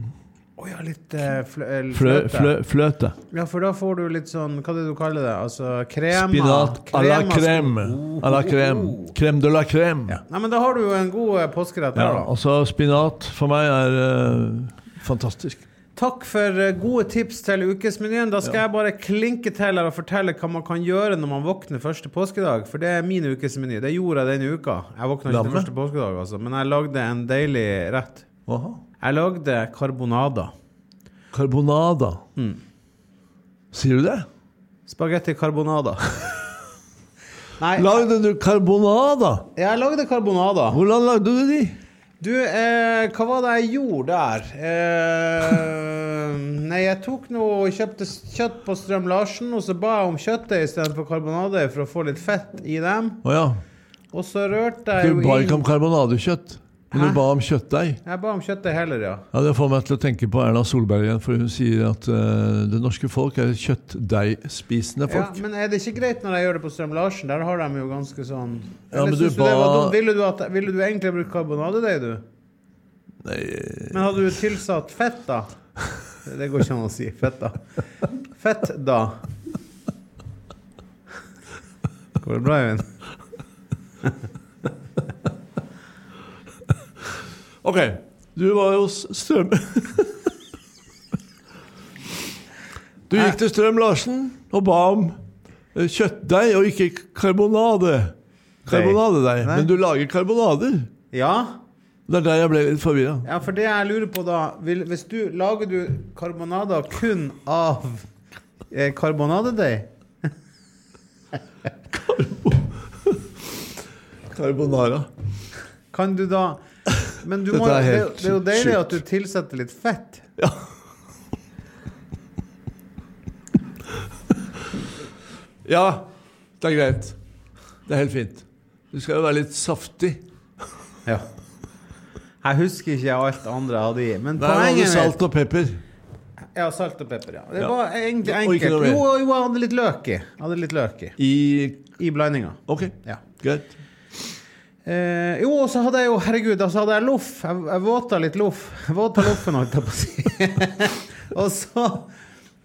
Å ja, litt eh, flø eller
flø,
fløte.
flø, fløte.
Ja, for da får du litt sånn Hva er det du kaller det? Altså krema?
Spinat à la
Krema skal-
crème. À la
Oh,
crème.
oh, oh.
Crème de la crème.
Ja. Nei, men da har du jo en god eh, påskerett
Ja,
der, da.
altså spinat for meg er eh, fantastisk.
Takk for eh, gode tips til ukesmenyen. Da skal jeg bare klinke til her og fortelle hva man kan gjøre når man våkner første påskedag. For det er min ukesmeny. Det gjorde jeg denne uka. Jeg våkna ikke
Lamme?
til første påskedag, altså. Men jeg lagde en deilig rett.
Aha.
Jeg lagde carbonada.
Carbonada.
Mm.
Sier du det?
Spagetti carbonada. Nei,
Lagde du carbonada?
jeg lagde carbonada.
Hvordan lagde du de?
Du, eh, hva var det jeg gjorde der? Eh, nei, jeg tok noe og kjøpte s- kjøtt på Strøm Larsen, og så ba jeg om kjøttet istedenfor karbonade for å få litt fett i dem.
Å ja.
Og så rørte jeg
Du
jo
ba ikke om
inn
karbonadekjøtt, men
Hæ?
du ba om kjøttdeig.
Jeg ba om kjøttet heller, ja.
Ja, Det får meg til å tenke på Erna Solberg igjen, for hun sier at eh, det norske folk er kjøttdeigspisende
ja.
folk.
Men er det ikke greit når jeg gjør det på Strøm Larsen? Der har de jo ganske sånn
Ja,
Eller
men du
synes det var
ba-
dumt? Ville du, at, ville du egentlig brukt karbonadedeig, du?
Nei,
Men hadde du tilsatt fett, da? Det går ikke an å si. Fett, da. Fett, da. Går det bra, Eivind?
Ok, du var jo s- Strøm... du gikk til Strøm Larsen og ba om eh, kjøttdeig og ikke karbonade. Karbonadedeig.
Nei.
Men du lager karbonader.
Ja?
Det er der jeg ble litt forvirra.
ja, for det jeg lurer på da vil, Hvis du lager du karbonader kun av eh, karbonadedeig
Carbonara.
Kan du da Men du
Dette
må,
er
det,
helt
det er jo deilig
sjukt.
at du tilsetter litt fett.
Ja. Ja, det er greit. Det er helt fint. Du skal jo være litt saftig.
Ja. Jeg husker ikke alt andre jeg hadde i. Men
Der var det
poenget mitt
salt og pepper.
Ja, salt og pepper, ja. Det
Ja.
var egentlig
Og ikke
enkelt.
noe
Jo,
mer.
jo, jeg hadde litt løk i. Jeg Hadde litt løk i.
I
I blandinga.
Ok,
Ja.
greit.
Eh, jo, og så hadde jeg jo Herregud, da så hadde jeg loff. Jeg, jeg våta litt loff. Jeg Våta loffen, holdt jeg på å si. og så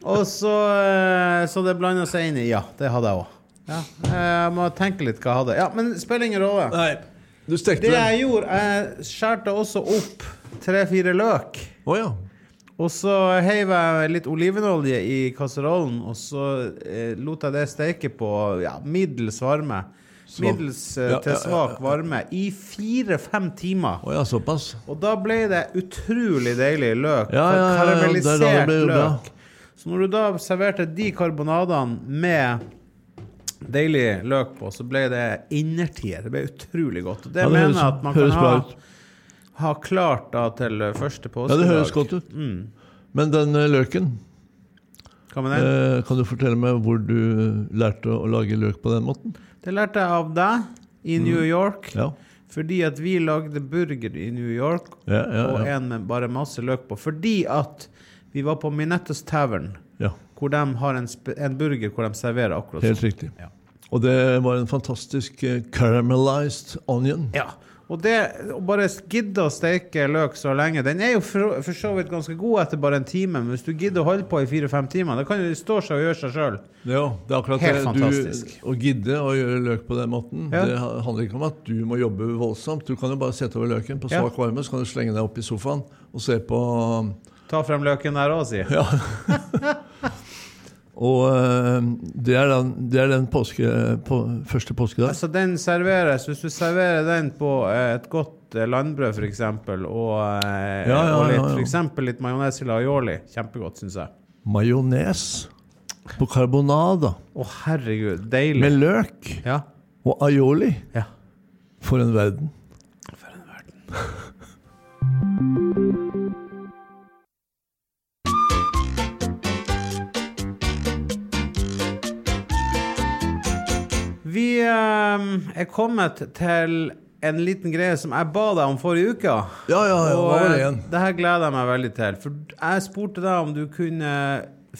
Og så eh, Så det blanda seg inn i. Ja, det hadde jeg òg. Ja, Eh, jeg må tenke litt hva jeg hadde. Ja, men spiller ingen rolle.
Nei, du stekte
Det
den.
jeg gjorde, jeg skjærte også opp tre-fire løk.
Å ja.
Og så heiv jeg litt olivenolje i kasserollen, og så eh, lot jeg det steke på ja, middels varme.
Svak.
Middels eh,
Ja, ja,
til
ja,
svak varme i fire-fem timer.
Å ja, såpass.
Og da ble det utrolig deilig løk.
Ja, ja, ja, ja, det er
karamellisert
da det blir bra.
løk. Så når du da serverte de karbonadene med deilig løk på, så ble det innertier. Det ble utrolig godt. Og det,
Ja, det
mener jeg
høres-
at man
høres
kan ha,
bra ut.
ha klart da til eh, første
Ja,
påskedag.
det høres godt ut.
Mm.
Men den eh, løken,
Hva med den?
eh, kan du fortelle meg hvor du eh, lærte å lage løk på den måten?
Det lærte jeg av deg
Mm.
i New York.
Ja.
Fordi at vi lagde burger i New York,
Ja, ja,
og
ja.
en med bare masse løk på. Fordi at vi var på Minettos Tavern,
ja.
hvor de har en, sp- en burger hvor de serverer akkurat sånn.
Helt riktig.
Ja.
Og det var en fantastisk eh, caramelized onion.
Ja. Og det å bare gidde å steike løk så lenge Den er jo for, for så vidt ganske god etter bare en time, men hvis du gidder å holde på i fire-fem timer, da kan det stå seg og gjøre seg sjøl.
Ja, det er akkurat
Helt
det.
fantastisk.
Du, å gidde å gjøre løk på den måten,
Ja.
det handler ikke om at du må jobbe voldsomt. Du kan jo bare sette over løken på
Ja.
svak varme, så kan du slenge deg opp i sofaen og se på
Ta frem løken der òg, si.
Ja. og eh, det er den, det er den påske, på, første påskedag.
Altså den serveres Hvis du serverer den på eh, et godt eh, landbrød for eksempel og, eh,
Ja, ja,
og litt,
ja, ja.
for eksempel litt majones i aioli, kjempegodt, syns jeg.
Majones på carbonada
Å, herregud, deilig.
med løk
ja.
og aioli.
ja.
For en verden.
Vi eh, er kommet til en liten greie som jeg ba deg om forrige uke.
Ja, ja, ja. Hva var det
eh,
igjen?
det her gleder jeg meg veldig til. For jeg spurte deg om du kunne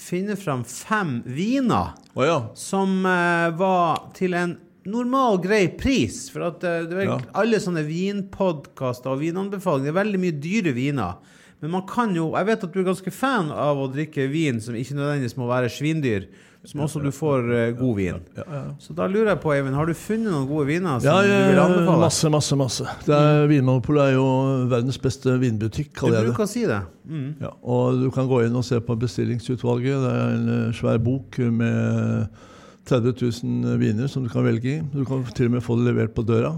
finne fram fem viner.
Å ja.
som eh, var til en normal, grei pris. For at eh, det er
Ja.
alle sånne vinpodkaster og vinanbefalinger det er veldig mye dyre viner. Men man kan jo Jeg vet at du er ganske fan av å drikke vin som ikke nødvendigvis må være svindyr, som også du får eh, god vin.
ja, ja.
Så da lurer jeg på, Eivind, har du funnet noen gode viner som
Ja, ja,
du vil
ja,
anbefale? Mm.
masse, masse, masse. Det er, Vinmonopolet er jo verdens beste vinbutikk,
Du
kaller jeg det.
bruker å si det. Mm.
Ja, og du kan gå inn og se på bestillingsutvalget. Det er en eh, svær bok med 30 000 viner som du kan velge i. Du kan til og med få det levert på døra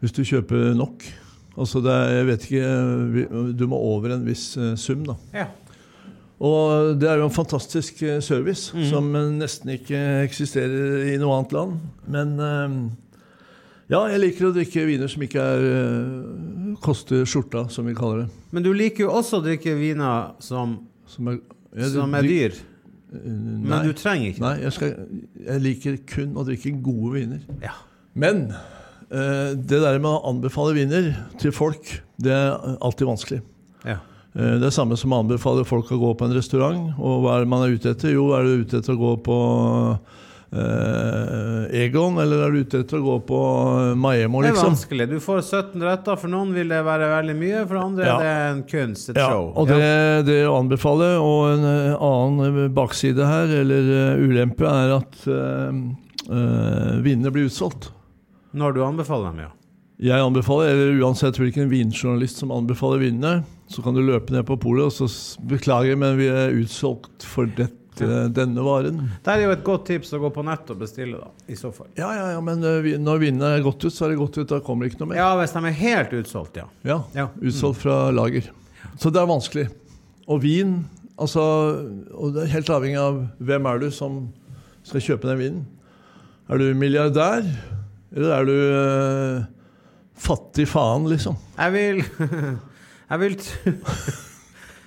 hvis du kjøper nok. Altså det er, jeg vet ikke, eh, vi- Du må over en viss eh, sum, da.
Ja.
Og det er jo en fantastisk eh, service
Mm.
som eh, nesten ikke eksisterer i noe annet land. Men eh, ja, jeg liker å drikke viner som ikke er eh, koster skjorta, som vi kaller det.
Men du liker jo også å drikke viner som,
Som er,
som er dyr.
eh, Nei,
Men du trenger ikke.
nei jeg, skal, jeg liker kun å drikke gode viner.
Ja.
Men eh, det der med å anbefale viner til folk, det er alltid vanskelig.
Ja.
Eh, Det er samme som å anbefale folk å gå på en restaurant. Og hva er det man er ute etter? Jo, er du ute etter å gå på eh, Egon, eller er du ute etter å gå på Maemo,
Det er
liksom?
vanskelig. Du får 17 retter. For noen vil det være veldig mye, for andre
Ja.
er det en kunst, et
Ja,
show.
og det, det å anbefale, og en eh, annen eh, bakside her, eller eh, ulempe, er at eh, eh, vinene blir utsolgt.
Når du anbefaler dem, ja.
Jeg anbefaler, eller uansett hvilken vinjournalist som anbefaler vinene, så kan du løpe ned på polet og så s- beklager, men vi er utsolgt for dette, denne varen.
Der er jo et godt tips å gå på nett og bestille, da. I så fall.
Ja, ja, ja, men eh, vi- når vinene er gått ut, så er det gått ut. Da kommer det ikke noe mer.
Ja, hvis de er helt utsolgt, ja.
Ja,
Ja.
Utsolgt fra lager. Så det er vanskelig. Og vin altså, og Det er helt avhengig av hvem er du som skal kjøpe den vinen. Er du milliardær, eller er du eh, fattig faen, liksom?
Jeg vil Jeg vil tro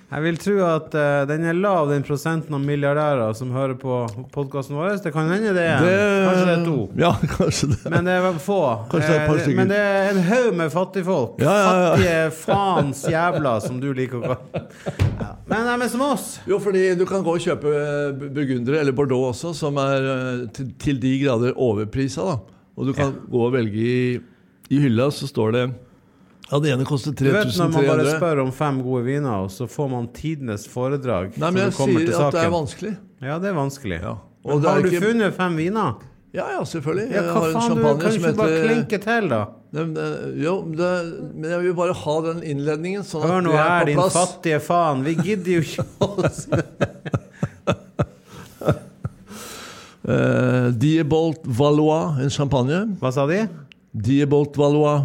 Jeg vil tro at eh, den er lav, den prosenten av milliardærer som hører på podkasten vår. Det kan hende det er en. Kanskje det er to.
Ja, kanskje det.
Men det er vel få.
Kanskje det er et par
Eh,
stykker.
Men det er en haug med fattigfolk.
Ja, ja, ja.
Fattige faens jævla, som du liker å kalle ja. Men de er som oss.
Jo, fordi du kan gå og kjøpe eh, bu- burgundere, eller Bordeaux også, som er eh, til, til de grader overprisa, da. Og du kan gå og velge i, i hylla, så står det Ja, det ene koster
Du vet når man bare
3300.
spør om fem gode viner, og så får man tidenes foredrag
Nei, men jeg
som kommer
sier
til
at det er
saken.
vanskelig.
ja, det er vanskelig.
Ja.
Men
Og det
har
er
du
ikke
funnet fem viner?
Ja, ja, selvfølgelig.
Ja,
Jeg
hva
har en
faen, du kan
champagne som
ikke bare
heter
klinke til, da?
Nei, men, eh, Jo, men det, men jeg vil bare ha den innledningen, sånn
Hør
at
nå
vi
her,
er
din
på plass.
fattige faen. Vi gidder jo ikke
Eh, Diebolt Valois, en champagne.
Hva sa de?
Diebolt Valois.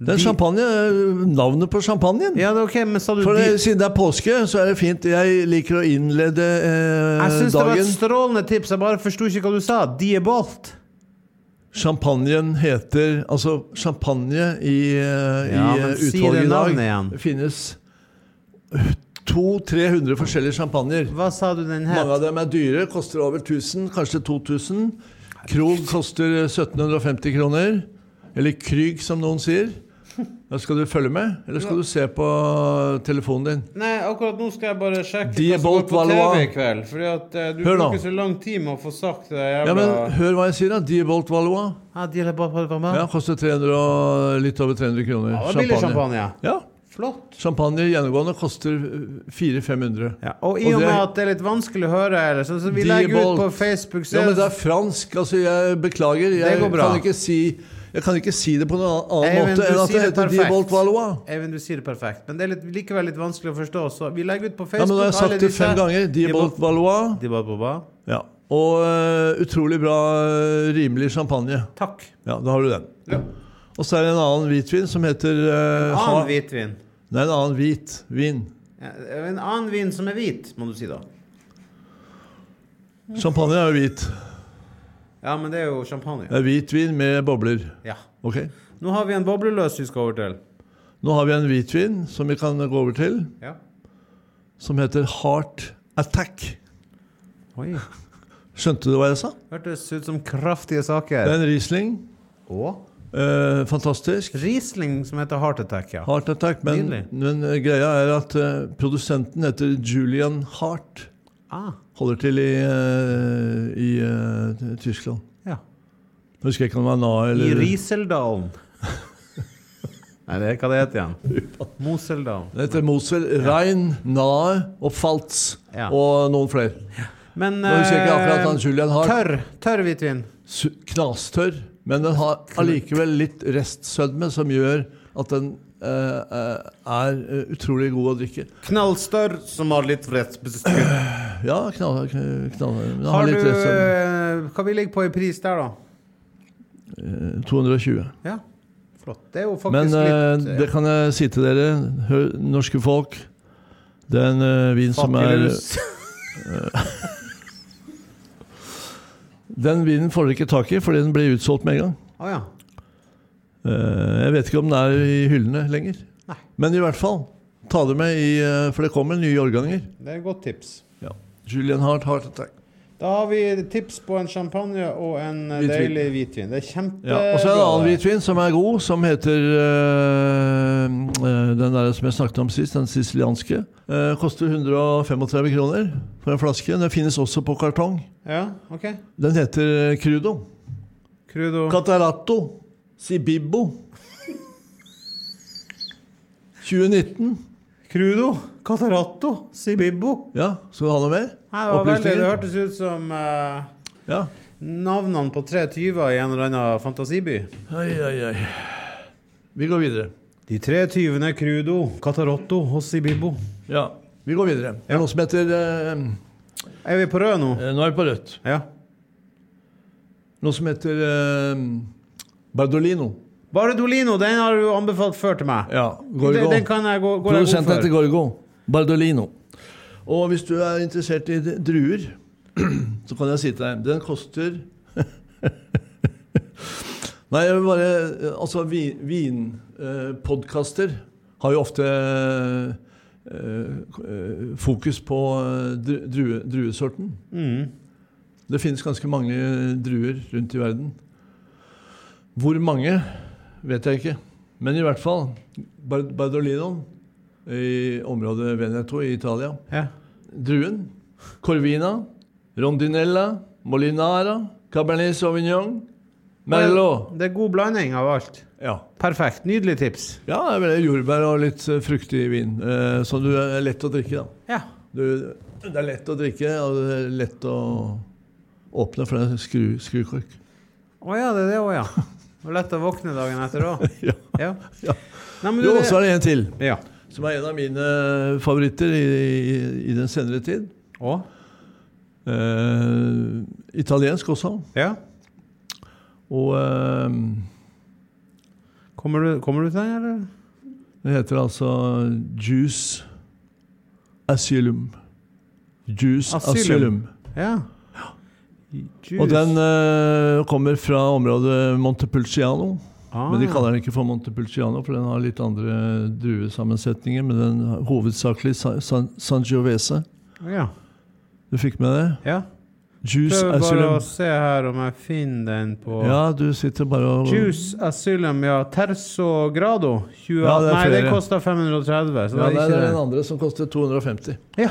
Det
Di-
er champagne, eh, navnet på champagnen.
Ja, det er ok, men sa du
For
de?
det, siden det er påske, så er det fint. Jeg liker å innlede eh,
Jeg syns det var
dagen.
et strålende tips, jeg bare forsto ikke hva du sa. De er bolt.
Champagnen heter Altså, champagne i, eh,
Ja,
i
men
eh,
si det
utvalget i dag
navnet igjen.
Det finnes 200-300 forskjellige champagner.
Hva sa du den
Mange
het?
av dem er dyre, koster over 1000, kanskje 2000. Krog koster 1750 kroner. Eller Krygg, som noen sier. Da skal du følge med, eller skal du se på telefonen din?
Nei, akkurat nå skal jeg bare sjekke
De
hva
er
som går
bolt
på TV
Valois.
i kveld. Fordi at eh, du
Hør nå.
bruker så lang tid med å få sagt det
Ja,
jævla
men Hør hva jeg sier, da. Diebolt Valois.
Ja, de er bolt, bolt, bolt, bolt.
Ja, koster 300 og litt over 300 kroner.
Ja, det var billig champagne.
Ja,
Flott.
champagne gjennomgående koster eh, 400-500.
Ja, og i og
Og det-
med at det er litt vanskelig å høre, eller sånn som vi
De
legger ut
bolt.
på Facebook så
Ja, men det er fransk. Altså, jeg beklager. Jeg
Det går bra.
kan ikke si Jeg kan ikke si det på noen annen
Eivind, du
måte enn at
sier det
det heter
perfekt.
Diebolt Valois.
sånn- Even, du sier det perfekt, men det er litt, likevel litt vanskelig å forstå. Så vi legger ut på
Ja, men
Facebook
da har jeg
alle
sagt det
disse-
fem ganger. Diebolt Valois.
De bolt, bolt, bolt.
Ja. Og eh, utrolig bra, eh, rimelig champagne.
Takk.
Ja, da har du den.
Ja.
Og så er det en annen hvitvin som heter eh, Ha-
Annen hvitvin.
Nei, en annen hvit vin.
Ja, En annen vin som er hvit, må du si da.
Champagne er jo hvit.
Ja, men det er jo champagne.
Det er hvit vin med bobler.
Ja.
Ok?
Nå har vi en bobleløs vi skal over til.
Nå har vi en hvitvin som vi kan gå over til,
Ja.
som heter Heart Attack.
Oi.
Skjønte du hva jeg sa?
Hørtes ut som kraftige
Det er
saker.
en Riesling.
Og
Eh, fantastisk.
Riesling som heter Heart Attack, ja.
Heart Attack, men,
Nydelig.
men eh, greia er at eh, produsenten heter Julian Heart.
Ah,
Holder til i, eh, i eh, Tyskland.
ja.
Jeg husker ikke om det var Na
I
eller
Rieseldalen. Nei, det er hva det heter igjen. Moseldalen.
Det heter Mosel. Rein, Nae og Falz.
Ja.
Og noen flere.
Men eh,
Nå husker jeg ikke akkurat han Julian Heart.
tørr, tørr hvitvin.
su- knastørr, men den har allikevel litt restsødme som gjør at den eh, eh, er eh, utrolig god å drikke.
Knallstørr som har litt rettsbeskudd.
Ja, knall, kn- knall, men den har
Har du
litt restsødme.
eh, Hva vi ligger på i pris der, da?
Eh, 220.
Ja, flott. Det er jo faktisk
Men eh,
litt eh,
det kan jeg si til dere, hør, norske folk. Det er en eh, vin som er
fattiglus.
Den vinen får dere ikke tak i, fordi den blir utsolgt med en gang.
Å Ah, ja.
Eh, jeg vet ikke om den er i hyllene lenger.
Nei.
Men i hvert fall, ta det med i eh, For det kommer nye årganger.
Det er et godt tips.
Ja. Julian Hart Heart Attack.
Da har vi tips på en champagne og en eh,
Hvitvin.
deilig hvitvin. Det er kjempebra.
Ja, og så er det en annen
det.
hvitvin som er god, som heter øh, øh, Den der som jeg snakket om sist, den sicilianske. Øh, koster 135 kroner for en flaske. Den finnes også på kartong.
Ja, ok.
Den heter eh, Crudo.
Crudo.
Cataratto Sibibbo. 2019.
Crudo? Cataratto? Sibibbo?
Ja, skal du ha noe mer?
Nei, det, var veldig, det hørtes ut som eh,
Ja.
navnene på tre tyver i en eller annen fantasiby.
Oi, oi, oi. Vi går videre.
De tre tyvene Crudo, Cataratto og Sibibbo.
Ja, vi går videre. Det er noe som heter øh,
Er vi på rød nå?
øh, Nå er vi på rødt.
Ja.
Noe som heter eh, Bardolino.
Bardolino, den har du anbefalt før til meg.
Ja,
Den,
Gorgo.
den kan jeg gå, går jeg god
Produsenten
for.
heter Gorgo. Bardolino. Og hvis du er interessert i d- druer, så kan jeg si til deg Den koster Nei, jeg vil bare eh, Altså, vinpodkaster har jo ofte eh, eh, fokus på eh, dru- drue, druesorten.
Mm.
Det finnes ganske mange druer rundt i verden. Hvor mange vet jeg ikke, men i hvert fall Bar- Bardolinoen i området Veneto i Italia.
Ja.
Druen, Corvina, Rondinella, Molinara, Cabernet Sauvignon, Merlot.
Det er god blanding av alt.
Ja.
Perfekt. Nydelig tips.
Ja, det er vel jordbær og litt eh, fruktig vin. eh, Så du er lett å drikke, da.
Ja.
Du, det er lett å drikke, og det er lett å åpne, for det er skru, skrukork.
Å ja, det er det òg, ja. Det var lett å våkne dagen etter òg.
Ja.
Ja.
Ja.
Nei, men du,
Jo,
det-
så er det en til,
Ja.
som er en av mine favoritter i, i, i den senere tid.
Å?
Eh, italiensk også.
Ja.
Og eh,
Kommer du, kommer du til den, eller?
det heter altså Juice Asylum. Juice
Asylum.
Asylum.
Ja. Juice.
Og den eh, kommer fra området Montepulciano.
ah,
Men de kaller den ikke for Montepulciano, for den har litt andre druesammensetninger. Men den har hovedsakelig Sa- San Sangiovese.
Ja.
Du fikk med det?
ja.
Juice
Prøver bare å
Asylum.
se her om jeg finner den på
Ja, du sitter bare og
Juice Asylum, ja. Terzo Grado. 20,
Ja, det er
nei, den
flere.
kosta 530, så
Ja,
det
Altså, det
er
er den
ikke
andre som koster 250.
det. Ja.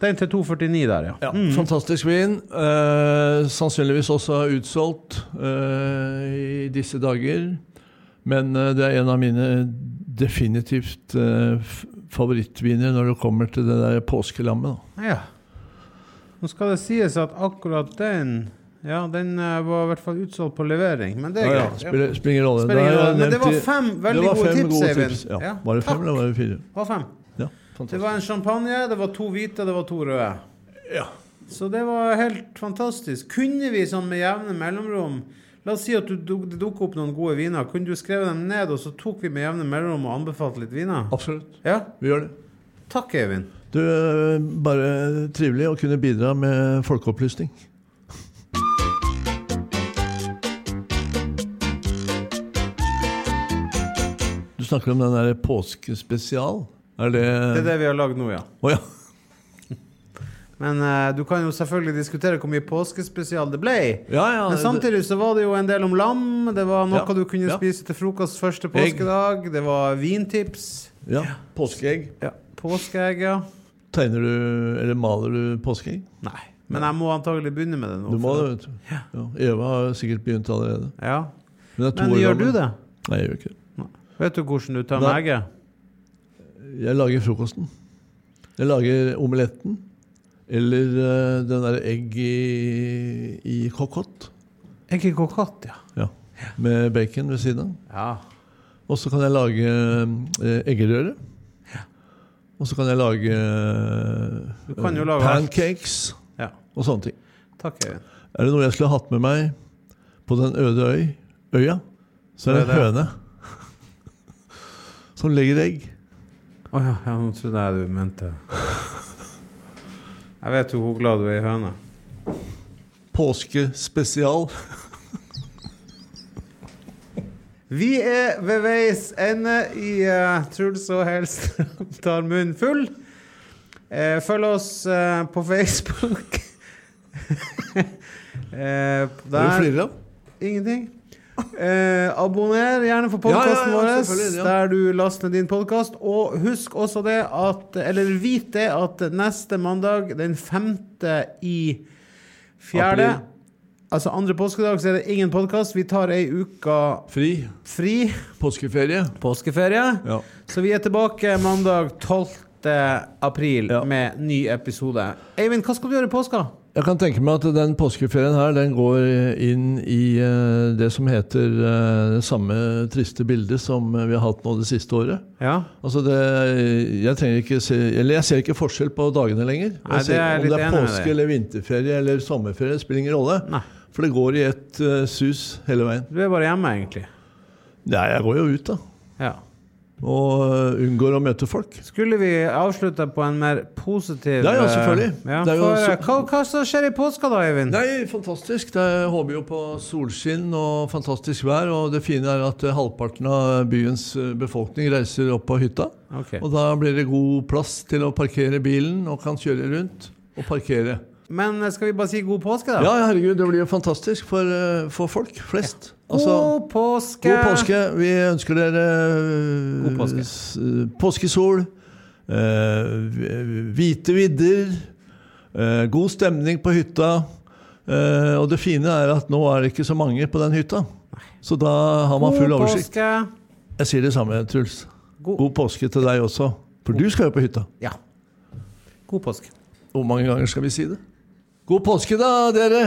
Den til 249 der, ja.
Ja,
Mm.
Fantastisk vin. Eh, sannsynligvis også utsolgt eh, i disse dager. Men eh, det er en av mine definitivt eh, f- favorittviner når det kommer til det der påskelammet. Da.
Ja. Nå skal det sies at akkurat den Ja, den eh, var i hvert fall utsolgt på levering, men det er
Ja, ja,
greit. Ja.
spiller, spiller ingen rolle.
Spiller
Da
ingen
har jeg
rolle, Men det
nevnt
var
i-
fem veldig
det var
gode
fem
tips,
gode
Eivind.
tips, Ja. Var det fem,
takk.
eller var det fire?
Det var fem.
Ja,
Det
fantastisk.
var en champagne, det var to hvite, det var to røde.
Ja.
Så det var helt fantastisk. Kunne vi sånn med jevne mellomrom La oss si at du, du, det dukker opp noen gode viner. Kunne du skrevet dem ned, og så tok vi med jevne mellomrom og anbefalte litt viner?
Absolutt.
Ja.
Vi gjør det.
Takk, Eivind.
Du, eh, bare trivelig å kunne bidra med folkeopplysning. Du snakker om den der påskespesial. Er det
Det er det vi har lagd nå, ja.
Å ja.
Men eh, du kan jo selvfølgelig diskutere hvor mye påskespesial det ble.
ja, ja
Men
det-
samtidig så var det jo en del om lam. Det var noe
Ja,
du kunne
ja.
spise til frokost første
Egg.
påskedag. Det var vintips.
ja. Påskeegg.
Ja. Påskeegg, ja.
Tegner du, eller maler du påskeegg?
Nei. Men jeg må antagelig begynne med det nå.
Du må
for
det,
at-
vet du. Ja, Eva har sikkert begynt allerede.
Ja.
Hun er to
Men
år
gjør du
gammel.
det?
Nei, jeg gjør ikke det.
Vet du hvordan du tar
Nei.
med egget?
Jeg lager frokosten. Jeg lager omeletten. Eller eh, den der egg i, i kokott.
Egg i kokott, ja.
Ja. Med bacon ved siden av.
Ja.
Og så kan jeg lage eh, eggerøre. Og så kan jeg lage,
Du
eh,
kan jo lage alt.
pancakes
ja.
og sånne ting.
Takk, Eivind.
Er det noe jeg skulle hatt med meg på den øde øy, øya, så er
Så
det en
er
høne som legger egg.
Å ja, ja, nå trodde jeg du mente Jeg vet jo hvor glad du er i høne.
Påskespesial.
Vi er ved veis ende i eh, Truls og Helstrøm tar munnen full. Eh, følg oss eh, på Facebook. eh,
Det er jo
der
flere av.
Ingenting. Eh, abonner gjerne for podkasten
Ja, ja, ja,
vår,
selvfølgelig, ja.
der du laster ned din podkast. Og husk også det at Eller vit det at neste mandag, den femte i fjerde
April.
Altså andre påskedag så er det ingen podkast. Vi tar ei uke
Fri
fri.
påskeferie.
Påskeferie.
Ja.
Så vi er tilbake mandag 12. april
Ja.
med ny episode. Eivind, hva skal du gjøre i påska?
Jeg kan tenke meg at den påskeferien her den går inn i eh, det som heter eh, det samme triste bildet som vi har hatt nå det siste året.
Ja,
Altså det, jeg, trenger ikke se, eller jeg ser ikke forskjell på dagene lenger.
Nei,
Jeg
det er
ser,
jeg
om det
litt
er
enig med
påske
deg.
eller vinterferie eller sommerferie, spiller ingen rolle.
Nei.
For det går i ett eh, sus hele veien.
du er bare hjemme, egentlig.
Nei, jeg går jo ut, da.
Ja.
og eh, unngår å møte folk.
Skulle vi avslutte på en mer positiv
Ja, ja, selvfølgelig.
eh, Ja,
Det er jo
for, eh,
så-
hva, hva som skjer i påska da, Eivind?
Nei, fantastisk. Det er- håper jo på solskinn og fantastisk vær. Og det fine er at eh, halvparten av byens eh, befolkning reiser opp på hytta.
Ok.
Og da blir det god plass til å parkere bilen og kan kjøre rundt og parkere.
Men eh, skal vi bare si god påske, da?
Ja, herregud, det blir jo fantastisk for, eh, for folk flest. Altså,
god påske!
god påske. Vi ønsker dere eh,
God påske.
s- eh, Påskesol, eh, hvite vidder, eh, god stemning på hytta. eh, og det fine er at nå er det ikke så mange på den hytta. Så da har man full
God
oversikt.
påske!
Jeg sier det samme, Truls.
God,
God påske til deg også. For du skal jo på hytta.
Ja. God påske.
Hvor mange ganger skal vi si det? God påske, da, dere!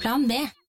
Plan B.